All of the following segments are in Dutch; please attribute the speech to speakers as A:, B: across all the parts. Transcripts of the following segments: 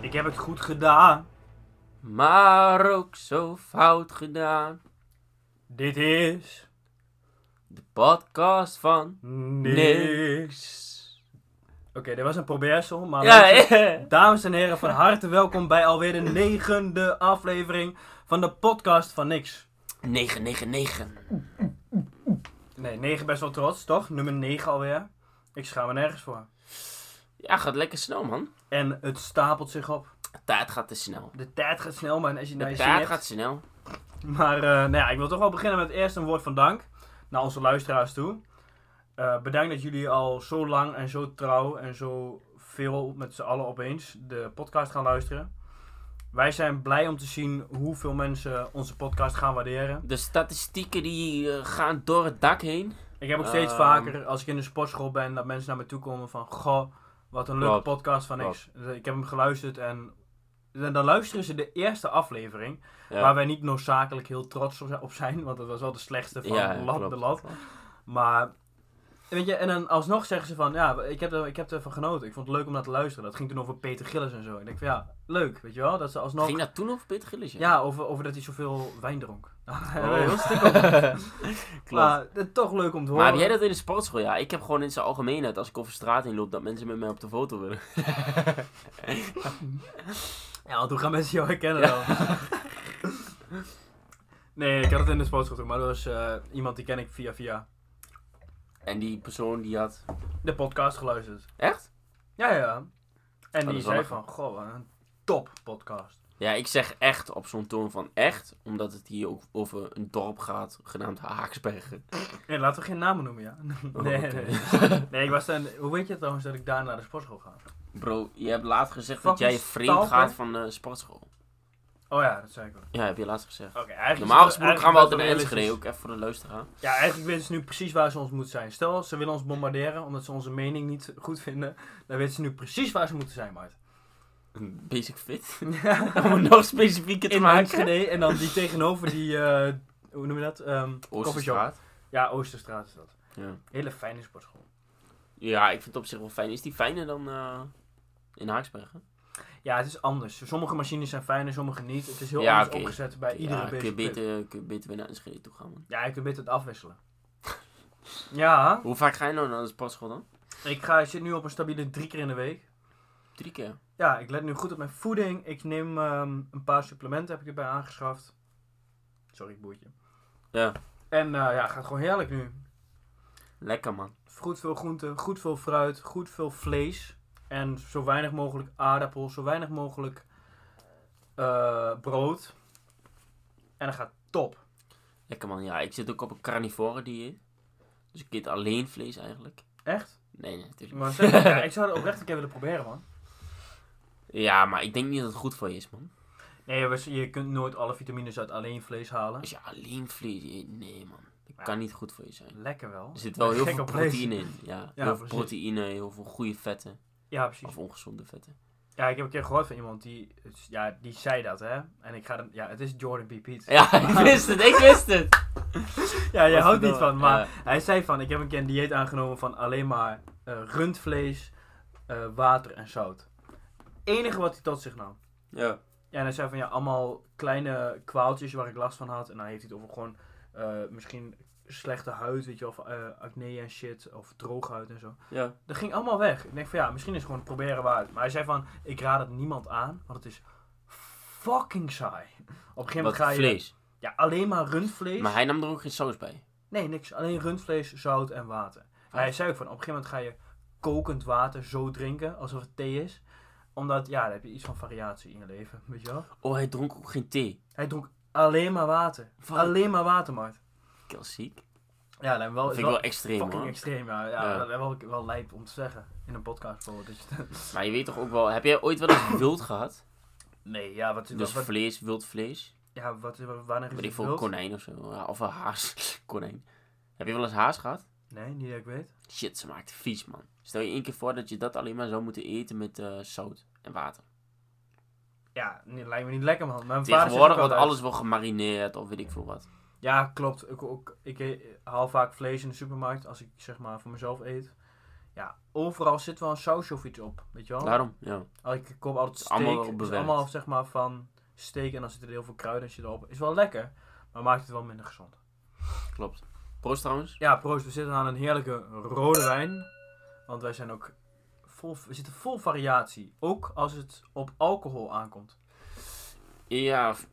A: heb het goed gedaan.
B: Maar ook zo fout gedaan.
A: Dit is
B: De podcast van
A: niks.
B: niks.
A: Oké, dit was een probeersel, maar...
B: Ja, eh. ja.
A: Dames en heren, van harte welkom bij alweer de negende aflevering van de podcast van niks.
B: 999.
A: Nee, negen best wel trots, toch? Nummer 9 alweer. Ik schaam me nergens voor.
B: Ja, gaat lekker snel, man.
A: En het stapelt zich op.
B: De tijd gaat te snel.
A: De tijd gaat snel, man, als je naar
B: De
A: je zin
B: tijd
A: hebt.
B: gaat snel.
A: Maar eh, nou ja, ik wil toch wel beginnen met eerst een woord van dank naar onze luisteraars toe. Eh, bedankt dat jullie al zo lang en zo trouw en zo veel met z'n allen opeens de podcast gaan luisteren. Wij zijn blij om te zien hoeveel mensen onze podcast gaan waarderen.
B: De statistieken die eh, gaan door het dak heen.
A: Ik heb ook steeds
B: Ehm.
A: vaker, als ik in de sportschool ben, dat mensen naar me toe komen van... Goh, wat een leuke
B: Klopt,
A: podcast van niks. Dus Ik heb hem geluisterd en dan dan luisteren ze de eerste aflevering.
B: Ja.
A: Waar wij niet noodzakelijk heel trots op zi- op zijn, want dat was wel de slechtste van
B: Ja,
A: de lat,
B: klopt,
A: de lat.
B: klopt.
A: Maar, weet je, en dan alsnog zeggen ze van, ja, ik heb, er, ik heb ervan genoten. Ik vond het leuk om naar te luisteren. Dat ging toen over Peter Gillis en zo. Ik denk van, ja, leuk, weet je wel, dat ze alsnog...
B: Ging dat toen over Peter Gillis?
A: Ja, over, over dat hij zoveel wijn dronk.
B: Oh.
A: eh, Heel stuk over.
B: Klopt.
A: Maar het is toch leuk om te horen.
B: Maar heb jij dat in de sportschool? Ja, ik heb gewoon in zijn algemeenheid, als ik over straat heen loop, dat mensen met mij op de foto willen.
A: Ja, want hoe gaan mensen jou herkennen dan? nee, ik had het in de sportschool toen, maar dat was eh, iemand die ken ik via via
B: En die persoon die had...
A: de podcast geluisterd.
B: Echt?
A: Ja, ja. En
B: Oh, dat
A: die
B: is
A: zei
B: handig.
A: van, goh, wat een top podcast.
B: Ja, ik zeg echt op zo'n toon van echt, omdat het hier ook over een dorp gaat, genaamd Haaksbergen.
A: Nee, laten we geen namen noemen, ja. Nee,
B: Oh, oké.
A: nee. Nee, ik was dan... Hoe weet je trouwens dat ik daar naar de sportschool ga?
B: Bro, je hebt laatst gezegd dat
A: Fucking
B: jij vreemd
A: stalker.
B: gaat van de sportschool.
A: Oh ja, dat zei ik wel.
B: Ja, heb je laatst gezegd.
A: Oké, eigenlijk...
B: Normaal gesproken
A: eigenlijk
B: gaan we
A: best
B: altijd naar
A: wel
B: Enschede,
A: realistisch.
B: ook even voor de luisteraar.
A: Ja, eigenlijk weten ze nu precies waar ze ons moeten zijn. Stel, ze willen ons bombarderen omdat ze onze mening niet goed vinden. Dan weten ze nu precies waar ze moeten zijn, Mart.
B: Basic fit. Om het nog specifieker te
A: in
B: maken.
A: Enschede en dan die tegenover die, eh, hoe noem je dat? Ehm coffeeshop.
B: Oosterstraat.
A: Ja, Oosterstraat is dat.
B: Ja.
A: Hele fijne sportschool.
B: ja, ik vind het op zich wel fijn. Is die fijner dan eh, in Haaksbergen?
A: Ja, het is anders. Sommige machines zijn fijn en sommige niet. Het is heel
B: Ja,
A: anders
B: oké.
A: opgezet bij iedere
B: ja, kun je,
A: basic fit.
B: beter, kun je beter weer naar Enschede toe gaan, man.
A: Ja, je kunt beter het afwisselen. ja,
B: Hoe vaak ga je nou naar de sportschool dan?
A: ik ga, ik zit nu op een stabiele drie keer in de week.
B: Drie keer.
A: Ja, ik let nu goed op mijn voeding. Ik neem ehm, een paar supplementen heb ik erbij aangeschaft. Sorry, boertje.
B: Ja.
A: En eh, ja, gaat gewoon heerlijk nu.
B: Lekker, man.
A: Goed veel groente, goed veel fruit, goed veel vlees. En zo weinig mogelijk aardappel, zo weinig mogelijk eh, brood. En dat gaat top.
B: Lekker, man. Ja, ik zit ook op een carnivore dieet. Dus ik eet alleen vlees eigenlijk.
A: Echt?
B: Nee, nee, natuurlijk
A: Maar zeg, ja, ik zou het oprecht een keer willen proberen, man.
B: Ja, maar ik denk niet dat het goed voor je is, man.
A: Nee, we- je kunt nooit alle vitamines uit alleen vlees halen.
B: Als je alleen vlees eet, nee, man. Dat kan niet goed voor je zijn.
A: Lekker wel.
B: Er zit wel heel
A: Gek
B: veel
A: op vlees.
B: proteïne in. Ja,
A: Ja,
B: heel veel
A: precies.
B: proteïne, heel veel goede vetten.
A: Ja, precies.
B: Of ongezonde vetten.
A: Ja, ik heb een keer gehoord van iemand die, ja, die zei dat, hè. En ik ga dan, ja, het is Jordan B. Piet.
B: Ja, ik wist het, ik wist het.
A: Ja, je
B: Wat
A: houdt
B: verdomme.
A: niet van, maar
B: Ja.
A: hij zei van, ik heb een keer een dieet aangenomen van alleen maar eh, rundvlees, eh, water en zout. Enige wat hij tot zich nam.
B: Ja.
A: Ja, en hij zei van, ja, allemaal kleine kwaaltjes waar ik last van had. En dan heeft hij het over gewoon, eh, misschien slechte huid, weet je wel, of eh, acne en shit, of droge huid en zo.
B: ja.
A: Dat ging allemaal weg. Ik denk van ja, misschien is het gewoon het proberen waard. Maar hij zei van, ik raad het niemand aan, want het is fucking saai. Op een gegeven
B: Wat
A: moment ga je...
B: vlees.
A: Ja, alleen maar rundvlees.
B: Maar hij nam er ook geen saus bij.
A: Nee, niks. Alleen rundvlees, zout en water. Maar hij zei ook van, op een gegeven moment ga je kokend water zo drinken, alsof het thee is. Omdat, ja, dan heb je iets van variatie in je leven, weet je wel.
B: Oh, hij dronk ook geen thee.
A: Hij dronk alleen maar water.
B: Wat?
A: Alleen maar water, Mart.
B: Ik was ziek. Dat
A: Ja, dan wel,
B: vind
A: is
B: ik
A: wel
B: wel extreem,
A: Oh, fucking
B: hoor.
A: extreem. Ja, ja,
B: Ja.
A: Dat is wel, wel lijp om te zeggen. In een podcast bijvoorbeeld. Dus,
B: Maar je weet toch ook wel... Heb jij ooit wel eens wild gehad?
A: nee, ja, wat,
B: Dus
A: wat,
B: vlees, wild vlees.
A: Ja, wat, wa- wanneer is
B: Weet ik
A: het
B: veel,
A: wild?
B: konijn of zo. Ja, Of een haas. konijn. Heb je wel eens haas gehad?
A: Nee, niet dat ik weet.
B: Shit, ze maakt vies, man. Stel je één keer voor dat je dat alleen maar zou moeten eten met eh, zout en water.
A: Ja, nee, lijkt me niet lekker, man. Mijn vader zegt ook
B: Tegenwoordig wordt
A: altijd-
B: alles wel gemarineerd of weet ik veel wat.
A: Ja, e-, klopt. Ik, ook, ik eh, haal vaak vlees in de supermarkt als ik zeg maar voor mezelf eet. Ja, overal zit wel een sausje of iets op, weet je wel?
B: Daarom, ja.
A: Als Ik koop altijd steak.
B: Allemaal
A: Nou, het is
B: bewerkt.
A: allemaal zeg maar van steak en dan zitten er heel veel kruiden en shit erop. Is wel lekker, maar maakt het wel minder gezond.
B: Klopt. Proost trouwens.
A: Ja, proost. We zitten aan een heerlijke rode wijn. Want wij zijn ook vol, we zitten vol variatie. Ook als het op alcohol aankomt.
B: Ja, v-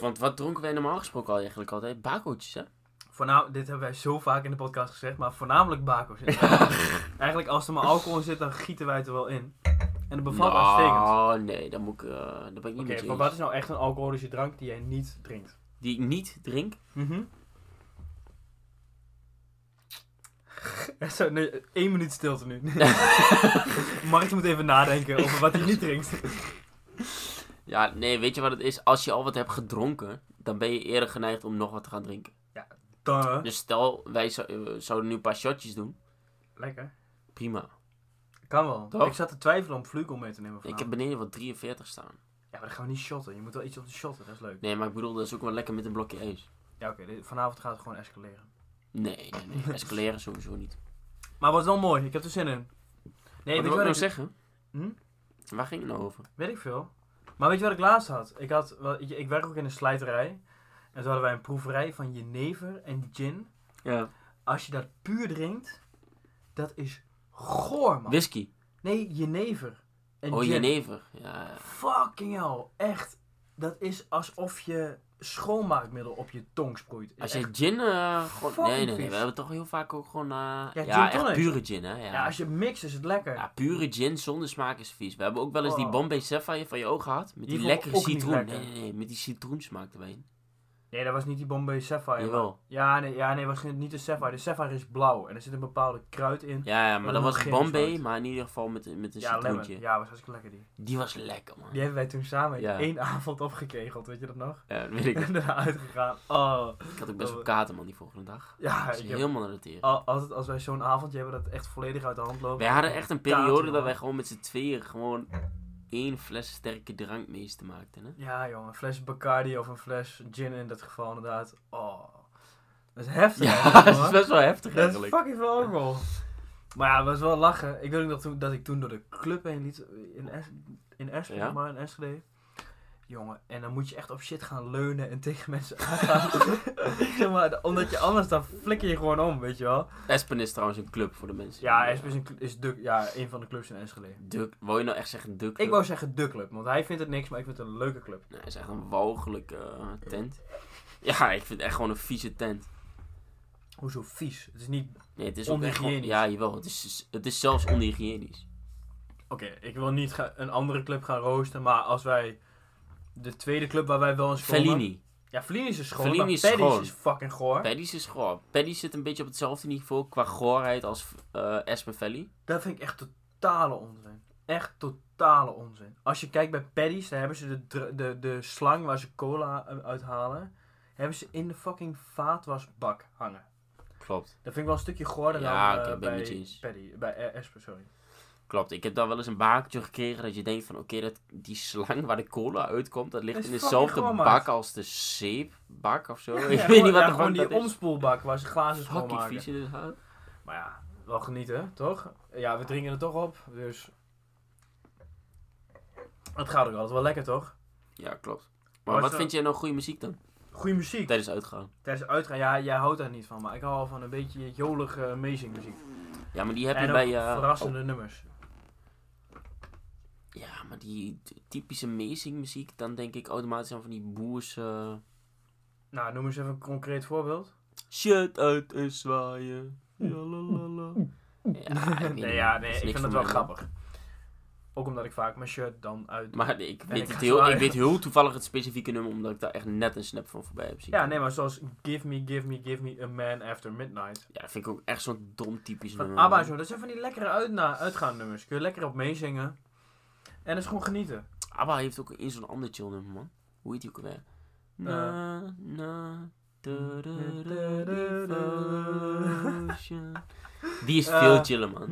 B: want wat dronken wij normaal gesproken al eigenlijk altijd? Bakootjes, hè?
A: Voornamelijk, dit hebben wij zo vaak in de podcast gezegd, maar voornamelijk bako's. inderdaad. Eigenlijk als er maar alcohol in zit, dan gieten wij het er wel in. En het bevalt uitstekend.
B: Oh nee, dan moet ik, eh, dan ben ik niet
A: Oké,
B: met je
A: maar
B: eens.
A: wat is nou echt een alcoholische drank die jij niet drinkt?
B: Die ik niet drink?
A: Mhm. Zo, nee, één minuut stilte nu. Mark moet even nadenken over wat hij niet drinkt.
B: Ja, nee, weet je wat het is? Als je al wat hebt gedronken, dan ben je eerder geneigd om nog wat te gaan drinken.
A: Duh.
B: Dus stel, wij zou- eh, zouden nu een paar shotjes doen.
A: Lekker.
B: Prima.
A: Kan wel.
B: Toch?
A: Ik zat te twijfelen om Flugel mee te nemen
B: Ik
A: vanavond.
B: heb beneden wat 43 staan.
A: Ja, maar dan gaan we niet shotten. Je moet wel iets op de shotten, dat is leuk.
B: Nee, maar ik bedoel, dat is ook wel lekker met een blokje eens.
A: Ja, oké. dit- vanavond gaat het gewoon escaleren.
B: Nee, nee, nee. Escaleren sowieso niet.
A: Maar wat wel mooi. Ik heb er zin in. Nee, weet
B: wat wil
A: je
B: ik
A: wat
B: nou
A: ik...
B: zeggen?
A: Hm?
B: Waar ging het nou over?
A: Weet ik veel. Maar weet je wat ik laatst had? Ik, had wel- ik, ik werk ook in een slijterij. En toen hadden wij een proeverij van jenever en gin.
B: Ja.
A: Als je dat puur drinkt, dat is goor, man.
B: Whisky.
A: Nee, jenever. En
B: oh,
A: gin.
B: jenever. Ja.
A: Fucking hell. Echt. Dat is alsof je schoonmaakmiddel op je tong sproeit. Is
B: Als je
A: echt-
B: gin... eh, gewoon-
A: Fucking
B: nee, nee, nee.
A: vies.
B: We hebben toch heel vaak ook gewoon... eh, ja,
A: gin
B: echt
A: tonic.
B: pure gin, hè.
A: ja.
B: Ja.
A: als je het mixt is het lekker.
B: Ja, pure gin zonder smaak is vies. We hebben ook wel eens die
A: Oh.
B: Bombay Sapphire van je oog gehad. Met
A: Die
B: die,
A: vond ik
B: lekkere
A: ook niet
B: citroen.
A: lekker.
B: Nee, nee, nee. Met die citroensmaak erbij.
A: Nee, dat was niet die Bombay Sapphire.
B: Jawel.
A: Ja, nee, ja, nee, was niet de Sapphire. De Sapphire is blauw en er zit een bepaalde kruid in.
B: Ja, ja, maar
A: Maar
B: dat
A: dan
B: was
A: geen
B: Bombay,
A: besluit.
B: maar in ieder geval met, met een
A: ja, lemon.
B: citroentje.
A: Ja, was hartstikke lekker die.
B: Die was lekker, man.
A: Die hebben wij toen samen in
B: Ja.
A: één avond opgekegeld, weet je dat nog?
B: Ja, dat weet ik.
A: En daarna uitgegaan. Oh,
B: Ik had ook best wel kater, man, die volgende dag.
A: ja,
B: Dat is
A: ik heb Oh,
B: helemaal naar de tering.
A: Al- Altijd als wij zo'n avondje hebben dat het echt volledig uit de hand loopt.
B: Wij hadden echt een
A: Kater,
B: periode
A: man.
B: dat wij gewoon met z'n tweeën gewoon één fles sterke drank meester maakten, hè.
A: Ja jongen, een fles Bacardi of een fles gin in dat geval inderdaad. Oh, dat is heftig.
B: Ja,
A: eigenlijk,
B: dat is
A: hoor.
B: best wel heftig
A: dat is
B: eigenlijk.
A: fucking veel alcohol. Maar ja, het was wel lachen. Ik weet ook nog toen, dat ik toen door de club heen liet in, es in Enschede,
B: Ja?
A: maar in Enschede. Jongen, en dan moet je echt op shit gaan leunen en tegen mensen aangaan. zeg maar, omdat je anders dan flikker je gewoon om, weet je wel.
B: Espen is trouwens een club voor de mensen.
A: Ja,
B: die-
A: Espen is, een, cl- is de, ja, een van de clubs in Enschede.
B: De, wou je nou echt zeggen de club?
A: Ik wou zeggen de club, want hij vindt het niks, maar ik vind het een leuke club.
B: Nee, het is echt een walgelijke eh, tent. Ja, ik vind het echt gewoon een vieze tent.
A: Hoezo vies? Het is niet...
B: Nee, het is ook echt gewoon...
A: Onhygiënisch.
B: Ja, jawel. Het is, het is zelfs onhygiënisch.
A: Oké, ik wil niet ga- een andere club gaan roosten, maar als wij... De tweede club waar wij wel een schoon...
B: Fellini.
A: Ja, Fellini is een schoon,
B: Fellini
A: maar
B: is
A: Paddy's
B: schoon.
A: is fucking goor.
B: Paddy's is goor. Paddy zit een beetje op hetzelfde niveau qua goorheid als eh Espen Valley.
A: Dat vind ik echt totale onzin. Echt totale onzin. Als je kijkt bij Paddy's, daar hebben ze de, dr- de, de slang waar ze cola eh, uithalen... Hebben ze in de fucking vaatwasbak hangen.
B: Klopt.
A: Dat vind ik wel een stukje goorder
B: Ja,
A: dan
B: oké,
A: eh,
B: ben ik met je
A: bij
B: eens.
A: Paddy. Bij eh, Espen, sorry.
B: Klopt. Ik heb daar wel eens een bakertje gekregen dat je denkt van... Oké, dat die slang waar de cola uitkomt, dat ligt
A: Dat is
B: in
A: fucking
B: dezelfde
A: goor, maat.
B: bak als de zeepbak of zo.
A: Ja,
B: ik weet
A: gewoon-
B: niet wat
A: ja,
B: de
A: gewoon
B: fuck
A: die
B: dat is.
A: omspoelbak waar ze glazen
B: Fucking
A: schoonmaken.
B: vies in het haar.
A: Maar ja, wel genieten, toch? Ja, we drinken het toch op, dus... Het gaat ook altijd wel lekker, toch?
B: Ja, klopt. Maar
A: Maar
B: wat
A: zo-
B: vind jij nou goede muziek dan?
A: Goeie muziek.
B: Tijdens uitgaan.
A: Tijdens het uitgaan, ja, jij houdt daar niet van, maar ik hou al van een beetje jolige, amazing muziek.
B: Ja, maar die heb je
A: en ook
B: bij... eh,
A: verrassende nummers.
B: Ja, maar die t- typische amazing muziek, dan denk ik automatisch aan van die boerse...
A: Nou, noem eens even een concreet voorbeeld.
B: Shit uit en zwaaien. Ja, la, la, la. Ja, ik weet
A: nee,
B: niet,
A: ja,
B: dat
A: nee,
B: is
A: ik
B: niks
A: vind het wel
B: voor mij, man.
A: grappig. Ook omdat ik vaak mijn shirt dan uit...
B: Maar nee, ik, weet
A: ik
B: het
A: ga
B: heel, ik
A: zwaaien.
B: weet heel toevallig het specifieke nummer, omdat ik daar echt net een snap van voorbij heb zien.
A: Ja, nee, maar zoals Give Me, Give Me, Give Me a Man After Midnight.
B: Ja, dat vind ik ook echt zo'n dom typisch
A: Van
B: nummer.
A: ABBA en
B: man.
A: zo. Dat zijn van die lekkere uitna uitgaande nummers. Kun je lekker op meezingen. En dat is gewoon genieten.
B: ABBA heeft ook in zo'n ander chill nummer, man. Hoe heet die ook
A: Eh.
B: alweer? Na, na, da, da,
A: Mm.
B: da, devotion. Die is veel
A: Eh,
B: chiller, man.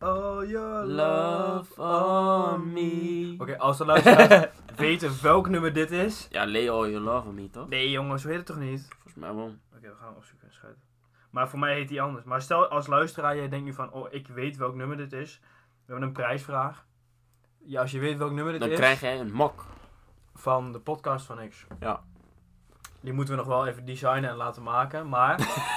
A: Oh, your
B: Hmm. Love on me.
A: Oké, als de luisteraars weten welk nummer dit is.
B: Ja, Lay All Your Love on Me, toch?
A: Nee jongens, zo heet het toch niet?
B: Volgens mij wel.
A: Oké, we gaan hem opzoeken en schrijven. Maar voor mij heet die anders. Maar stel als luisteraar, jij denkt nu van, oh, ik weet welk nummer dit is. We hebben een prijsvraag. Ja, als je weet welk nummer dit
B: Dan
A: is,
B: krijg jij een mok.
A: van de podcast van X.
B: Ja.
A: Die moeten we nog wel even designen en laten maken. Maar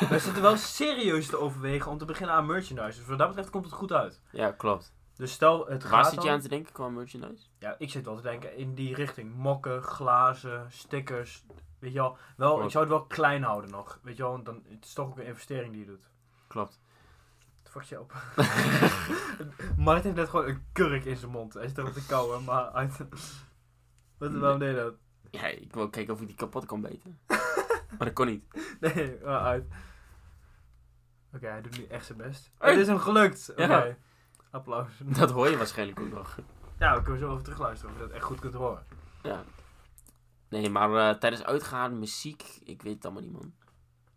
A: we zitten wel serieus te overwegen om te beginnen aan merchandise. Dus wat dat betreft komt het goed uit.
B: Ja, klopt.
A: Dus stel, het
B: Waar
A: gaat
B: zit je
A: dan-
B: aan te denken qua merchandise?
A: Ja, ik zit wel te denken in die richting. Mokken, glazen, stickers. Weet je wel, wel ik
B: Klopt.
A: zou het wel klein houden nog. Weet je wel, want dan, het is toch ook een investering die je doet.
B: Klopt.
A: Wat fuck je op. Martin heeft net gewoon een kurk in zijn mond. Hij zit erop te kauwen, maar... Uit... Wat, waarom deed je dat?
B: Ja, ik wil kijken of ik die kapot kan bijten. maar dat kon niet.
A: Nee, maar uit. Oké, hij doet nu echt zijn best.
B: Hey.
A: Het is hem gelukt! Oké.
B: Ja.
A: Applaus.
B: Dat hoor je waarschijnlijk ook nog.
A: Ja, we kunnen zo even terugluisteren of je dat echt goed kunt horen.
B: Ja. Nee, maar eh, tijdens uitgaan, muziek, ik weet het allemaal niet, man.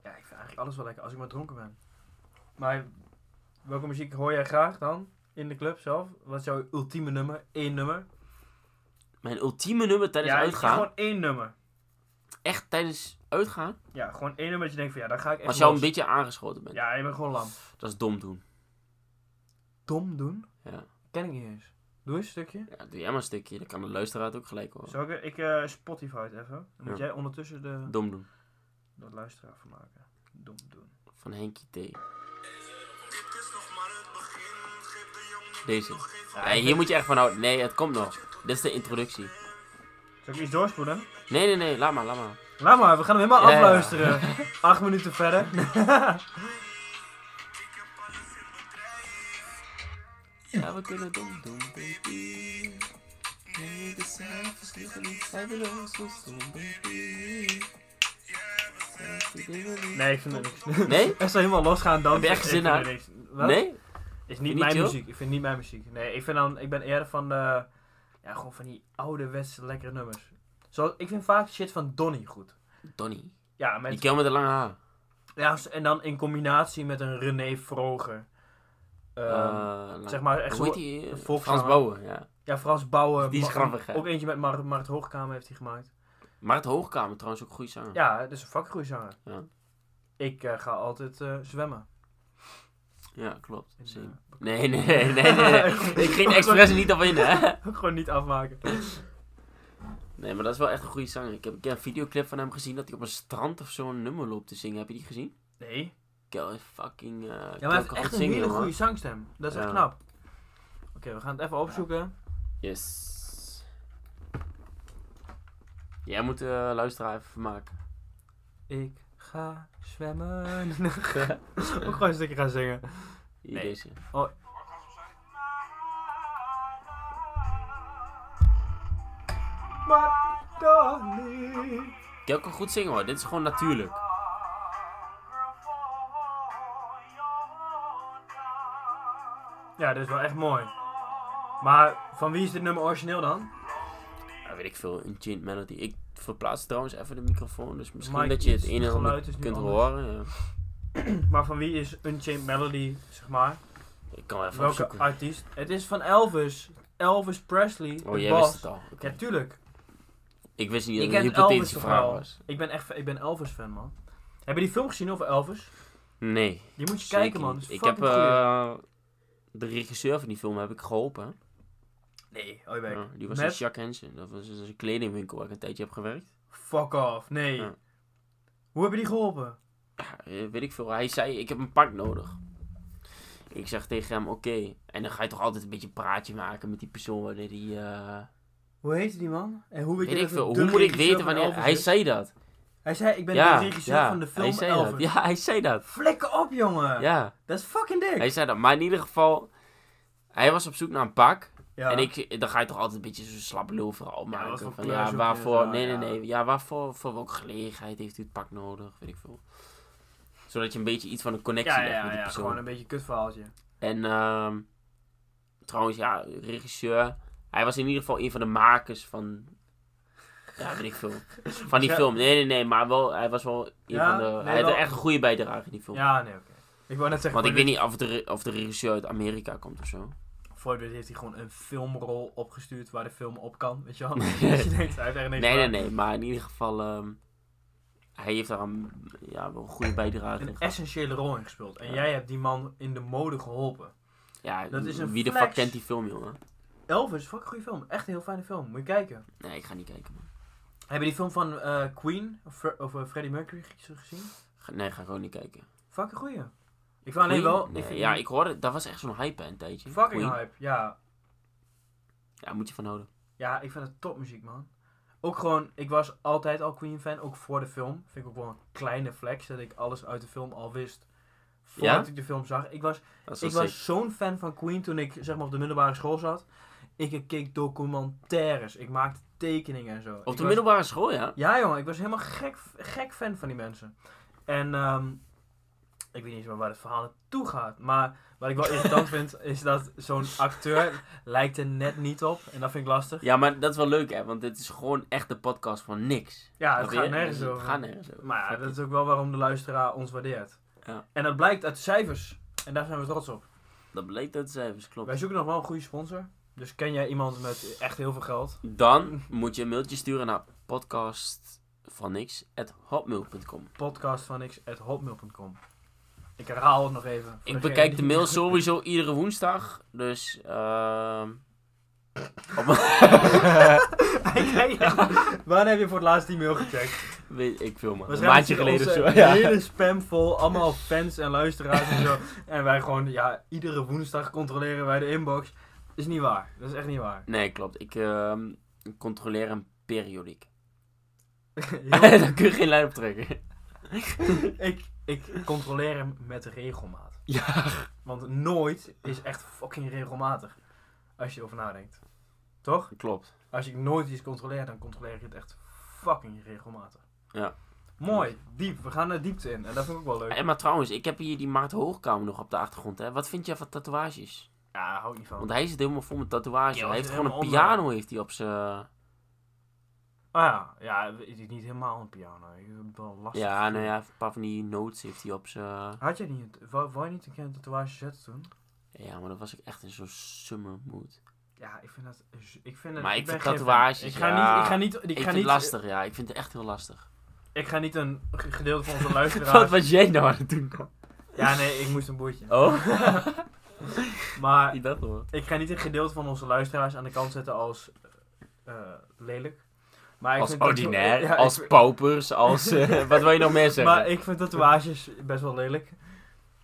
A: Ja, ik vind eigenlijk alles wel lekker als ik maar dronken ben. Maar welke muziek hoor jij graag dan? In de club zelf? Wat is jouw ultieme nummer? Eén nummer?
B: Mijn ultieme nummer tijdens
A: ja,
B: uitgaan.
A: gewoon één nummer.
B: Echt tijdens uitgaan?
A: Ja, gewoon één nummer dat je denkt van ja, daar ga ik echt
B: Als je al een
A: los.
B: beetje aangeschoten bent.
A: Ja, je bent gewoon lam.
B: Dat is dom doen.
A: Dom doen?
B: Ja.
A: Ken ik niet eens. Doe eens een stukje.
B: Ja, doe jij maar een stukje, dan kan de luisteraar het ook gelijk horen.
A: Zal ik, ik eh, Spotify het even? Dan moet
B: Ja.
A: jij ondertussen de,
B: Dom doen.
A: de luisteraar van maken. Dom doen.
B: Van Henkie T.
C: Dit is nog maar het begin, geef de jongen
B: Deze.
C: nog geen
B: Ja, hier moet je echt van houden. Nee, het komt nog. Dit is de introductie.
A: Zal ik iets doorspoelen?
B: Nee, nee, nee, laat maar, laat maar.
A: Laat maar, we gaan hem helemaal
B: Ja, ja.
A: afluisteren. Acht minuten verder.
C: Ik heb alles in bedrijf.
B: Ja, we kunnen dom doen, baby. Nee, de cijfers liggen niet vrijwillig, ons dus doen, baby.
A: Nee, ik vind het niks.
B: Nee?
A: Als ze helemaal losgaan dan...
B: Heb je echt
A: ik
B: zin
A: vind
B: aan?
A: er niks. Wat?
B: Nee?
A: Is
B: je
A: niet
B: niet
A: mijn
B: chill?
A: muziek. Ik vind niet mijn muziek. Nee, ik, vind dan, ik ben eerder van de... Ja, gewoon van die ouderwetse lekkere nummers. Zo, ik vind vaak shit van Donny goed.
B: Donnie.
A: Ja,
B: Die
A: met,
B: kerel met de lange haar.
A: ja, en dan in combinatie met een René Vroger. Ehm,
B: Eh, lang-
A: zeg maar echt
B: Hoe
A: zo...
B: heet die? eh,
A: volkszanger.
B: Frans Bouwen, ja.
A: Ja, Frans Bouwen.
B: Die is
A: Ma-
B: grappig, hè?
A: Ook eentje met Mar Mart Hoogkamer heeft hij gemaakt.
B: Maar het Hoogkamer trouwens ook een goede zanger.
A: Ja, dat is een vakgoeie zanger.
B: Ja.
A: Ik eh, ga altijd eh, zwemmen.
B: Ja, klopt.
A: In,
B: Zing.
A: eh,
B: Nee, nee, nee, nee. nee. ik ging expres niet op in, hè.
A: Gewoon niet afmaken.
B: Nee, maar dat is wel echt een goede zanger. Ik heb een keer een videoclip van hem gezien dat hij op een strand of zo een nummer loopt te zingen. Heb je die gezien?
A: Nee.
B: Kel is fucking. eh
A: Ja,
B: Kel
A: maar hij heeft
B: kan
A: echt
B: goed
A: een hele
B: jongen.
A: goede zangstem. Dat is echt
B: Ja.
A: knap. Oké, we gaan het even opzoeken.
B: Yes. Jij moet eh luisteraar even vermaken.
A: Ik ga zwemmen. Ook gewoon een stukje gaan zingen.
B: Hier,
A: Nee.
B: Deze.
A: Maar dan niet.
B: Kel kan goed zingen hoor, dit is gewoon natuurlijk.
A: Ja, dat is wel echt mooi. Maar van wie is dit nummer origineel dan?
B: Ja, Ah, weet ik veel, een Chained Melody. Ik verplaats trouwens even de microfoon, dus misschien
A: Mike,
B: dat je het
A: iets-
B: een en
A: het
B: ander
A: geluid is nu
B: kunt
A: anders.
B: horen. Ja.
A: Maar van wie is Unchained Melody, zeg maar?
B: Ik kan wel even
A: Welke
B: opzoeken.
A: artiest? Het is van Elvis. Elvis Presley.
B: Oh,
A: de
B: jij
A: boss.
B: wist het al. Oké.
A: Ja, tuurlijk.
B: Ik wist niet
A: Je
B: dat het een
A: kent Elvis
B: hypothetische
A: toch
B: vraag
A: wel?
B: was.
A: Ik ben echt ik ben Elvis fan, man. Heb je die film gezien over Elvis?
B: Nee.
A: Die moet je
B: zeker
A: kijken, man.
B: niet.
A: Dat is
B: Ik heb
A: fucking goeie.
B: eh, de regisseur van die film heb ik geholpen.
A: Nee, oh je bek.
B: Ja, die was
A: Met-
B: in Jack Henson. Dat was dus een kledingwinkel waar ik een tijdje heb gewerkt.
A: Fuck off, nee.
B: Ja.
A: Hoe heb je die geholpen?
B: Ja, eh, weet ik veel. Hij zei, ik heb een pak nodig. Ik zeg tegen hem, oké. En dan ga je toch altijd een beetje een praatje maken met die persoon wanneer die... eh,
A: Hoe heette die man? En hoe weet,
B: weet
A: je
B: ik
A: dat het
B: veel.
A: de
B: Hoe moet ik
A: regisseur
B: weten
A: van
B: wanneer...
A: Elvis
B: Hij
A: is?
B: zei dat.
A: Hij zei, ik ben
B: ja,
A: de regisseur
B: ja,
A: van de film
B: hij zei
A: Elvis.
B: dat. Ja, hij zei dat.
A: Flikker op, jongen.
B: Ja,
A: Dat is fucking dik.
B: hij zei dat. Maar in ieder geval... Hij was op zoek naar een pak.
A: Ja.
B: En ik, dan ga je toch altijd een beetje zo'n slap lul verhaal
A: Ja, wat
B: maken.
A: voor
B: van,
A: kleur zoek
B: ja,
A: je
B: waarvoor,
A: en zo,
B: nee, nee,
A: ja.
B: nee. Ja, waarvoor, voor welke gelegenheid heeft u het pak nodig? Weet ik veel. Zodat je een beetje iets van een connectie
A: ja,
B: legt
A: ja,
B: met die
A: ja,
B: persoon.
A: gewoon een beetje een kutverhaaltje.
B: En ehm, trouwens, ja, regisseur. Hij was in ieder geval een van de makers van. Ja, weet ik veel. Van die
A: Ja.
B: film. Nee, nee, nee. Maar wel, hij was wel een
A: Ja,
B: van de.
A: nee,
B: hij had
A: wel-
B: echt een goede bijdrage in die film.
A: Ja, nee, oké. Ik wou net zeggen,
B: Want ik
A: voor
B: weet niet of de, re- of de regisseur uit Amerika komt of zo.
A: dit- Voor dit heeft hij gewoon een filmrol opgestuurd waar de film op kan, weet je wel. dat je denkt, hij heeft echt niks
B: Nee, nee,
A: gedaan.
B: nee. Maar in ieder geval. ehm, hij heeft daar een, ja, wel een goede bijdrage in
A: een
B: gehad.
A: essentiële rol in gespeeld. En
B: Ja.
A: jij hebt die man in de mode geholpen.
B: Ja,
A: dat is een
B: wie de
A: flex.
B: fuck kent die film, jongen?
A: Elvis, fuck een goede film. Echt een heel fijne film. Moet je kijken.
B: Nee, ik ga niet kijken, man.
A: Heb je die film van eh, Queen of, Fre- of eh, Freddie Mercury gezien?
B: Ga- Nee, ga ik ook niet kijken.
A: Fuck een goeie. Ik vind alleen
B: Queen?
A: wel...
B: Nee,
A: ik vind
B: ja,
A: die
B: ik hoorde, dat was echt zo'n hype hè, een tijdje.
A: Fucking
B: Queen.
A: hype, ja.
B: Ja, moet je van houden.
A: Ja, ik vind het topmuziek, man. Ook gewoon, ik was altijd al Queen-fan, ook voor de film. Vind ik ook wel een kleine flex, dat ik alles uit de film al wist. Voordat
B: Ja?
A: ik de film zag. Ik was,
B: Dat is wel
A: ik
B: sick.
A: was zo'n fan van Queen toen ik zeg maar, op de middelbare school zat. Ik keek documentaires, ik maakte tekeningen en zo.
B: Op
A: Ik
B: de
A: was-
B: middelbare school, ja?
A: Ja, jongen, ik was helemaal gek, gek fan van die mensen. En ehm, ik weet niet eens meer waar het verhaal naartoe gaat. Maar wat ik wel irritant vind, is dat zo'n acteur lijkt er net niet op. En dat vind ik lastig.
B: Ja, maar dat is wel leuk, hè? Want dit is gewoon echt de podcast van niks.
A: Ja, het
B: Snap je?
A: gaat nergens
B: Het
A: over.
B: gaat nergens over.
A: Maar ja,
B: Fuck
A: dat
B: it.
A: is ook wel waarom de luisteraar ons waardeert.
B: Ja.
A: En dat blijkt uit de cijfers. En daar zijn we trots op.
B: dat bleek dat cijfers, klopt.
A: Wij zoeken nog wel een goede sponsor. Dus ken jij iemand met echt heel veel geld?
B: Dan moet je een mailtje sturen naar podcast van niks
A: Podcast van Ik herhaal het nog even. voor
B: Ik
A: degene
B: bekijk de
A: die-
B: mail sowieso iedere woensdag. Dus ehm op,
A: Hij kijkt echt- Wanneer heb je voor het laatst die mail gecheckt?
B: weet ik veel man. Een
A: Waarschijnlijk
B: maandje geleden of
A: onze
B: zo. Ja.
A: hele spam vol. Allemaal fans en luisteraars en zo. En wij gewoon, ja, iedere woensdag controleren wij de inbox. Is niet waar. Dat is echt niet waar.
B: Nee, klopt. Ik ehm, controleer hem periodiek.
A: Heel-
B: Daar kun je geen lijn op trekken.
A: ik, ik controleer hem met regelmaat.
B: Ja.
A: Want nooit is echt fucking regelmatig. Als je erover nadenkt. Toch?
B: Klopt.
A: Als ik nooit iets controleer, dan controleer ik het echt fucking regelmatig.
B: Ja.
A: Mooi, diep. We gaan naar diepte in. En dat vind ik ook wel leuk.
B: En maar trouwens, ik heb hier die Maart Hoogkamer nog op de achtergrond. Hè. Wat vind jij van tatoeages?
A: Ja, daar hou ik niet van.
B: Want hij zit helemaal vol met tatoeages.
A: Ja,
B: hij
A: hij
B: heeft
A: zit
B: gewoon een
A: helemaal onder.
B: piano heeft hij op zijn...
A: Ah ja, ja, het is niet helemaal een piano. Ik heb wel lastig.
B: Ja, nou ja, een paar van die notes heeft hij op zijn...
A: Had jij niet, wou, wou je niet een keer een tatoeage zetten toen?
B: Ja, maar dat was ik echt in zo'n summer mood.
A: Ja, ik vind dat, ik vind dat
B: Maar
A: ik
B: ik
A: ben
B: vind
A: geen fan.
B: tatoeages,
A: Ik ga
B: ja.
A: niet, ik ga niet, ik,
B: Ik,
A: ga
B: vind
A: niet,
B: het lastig, ja. Ik vind het echt heel lastig.
A: ik ga niet een ge- gedeelte van onze
B: Wat
A: luisteraars.
B: was jij nou aan het doen?
A: ja, nee, ik moest een boertje.
B: Oh,
A: Maar
B: niet dat hoor.
A: Ik ga niet een gedeelte van onze luisteraars aan de kant zetten als eh, lelijk. Maar ik
B: Als
A: vind tatoe-
B: ordinair,
A: ja, ik
B: als
A: vind-
B: paupers, als... eh, wat wil je nog meer zeggen?
A: Maar ik vind tatoeages best wel lelijk.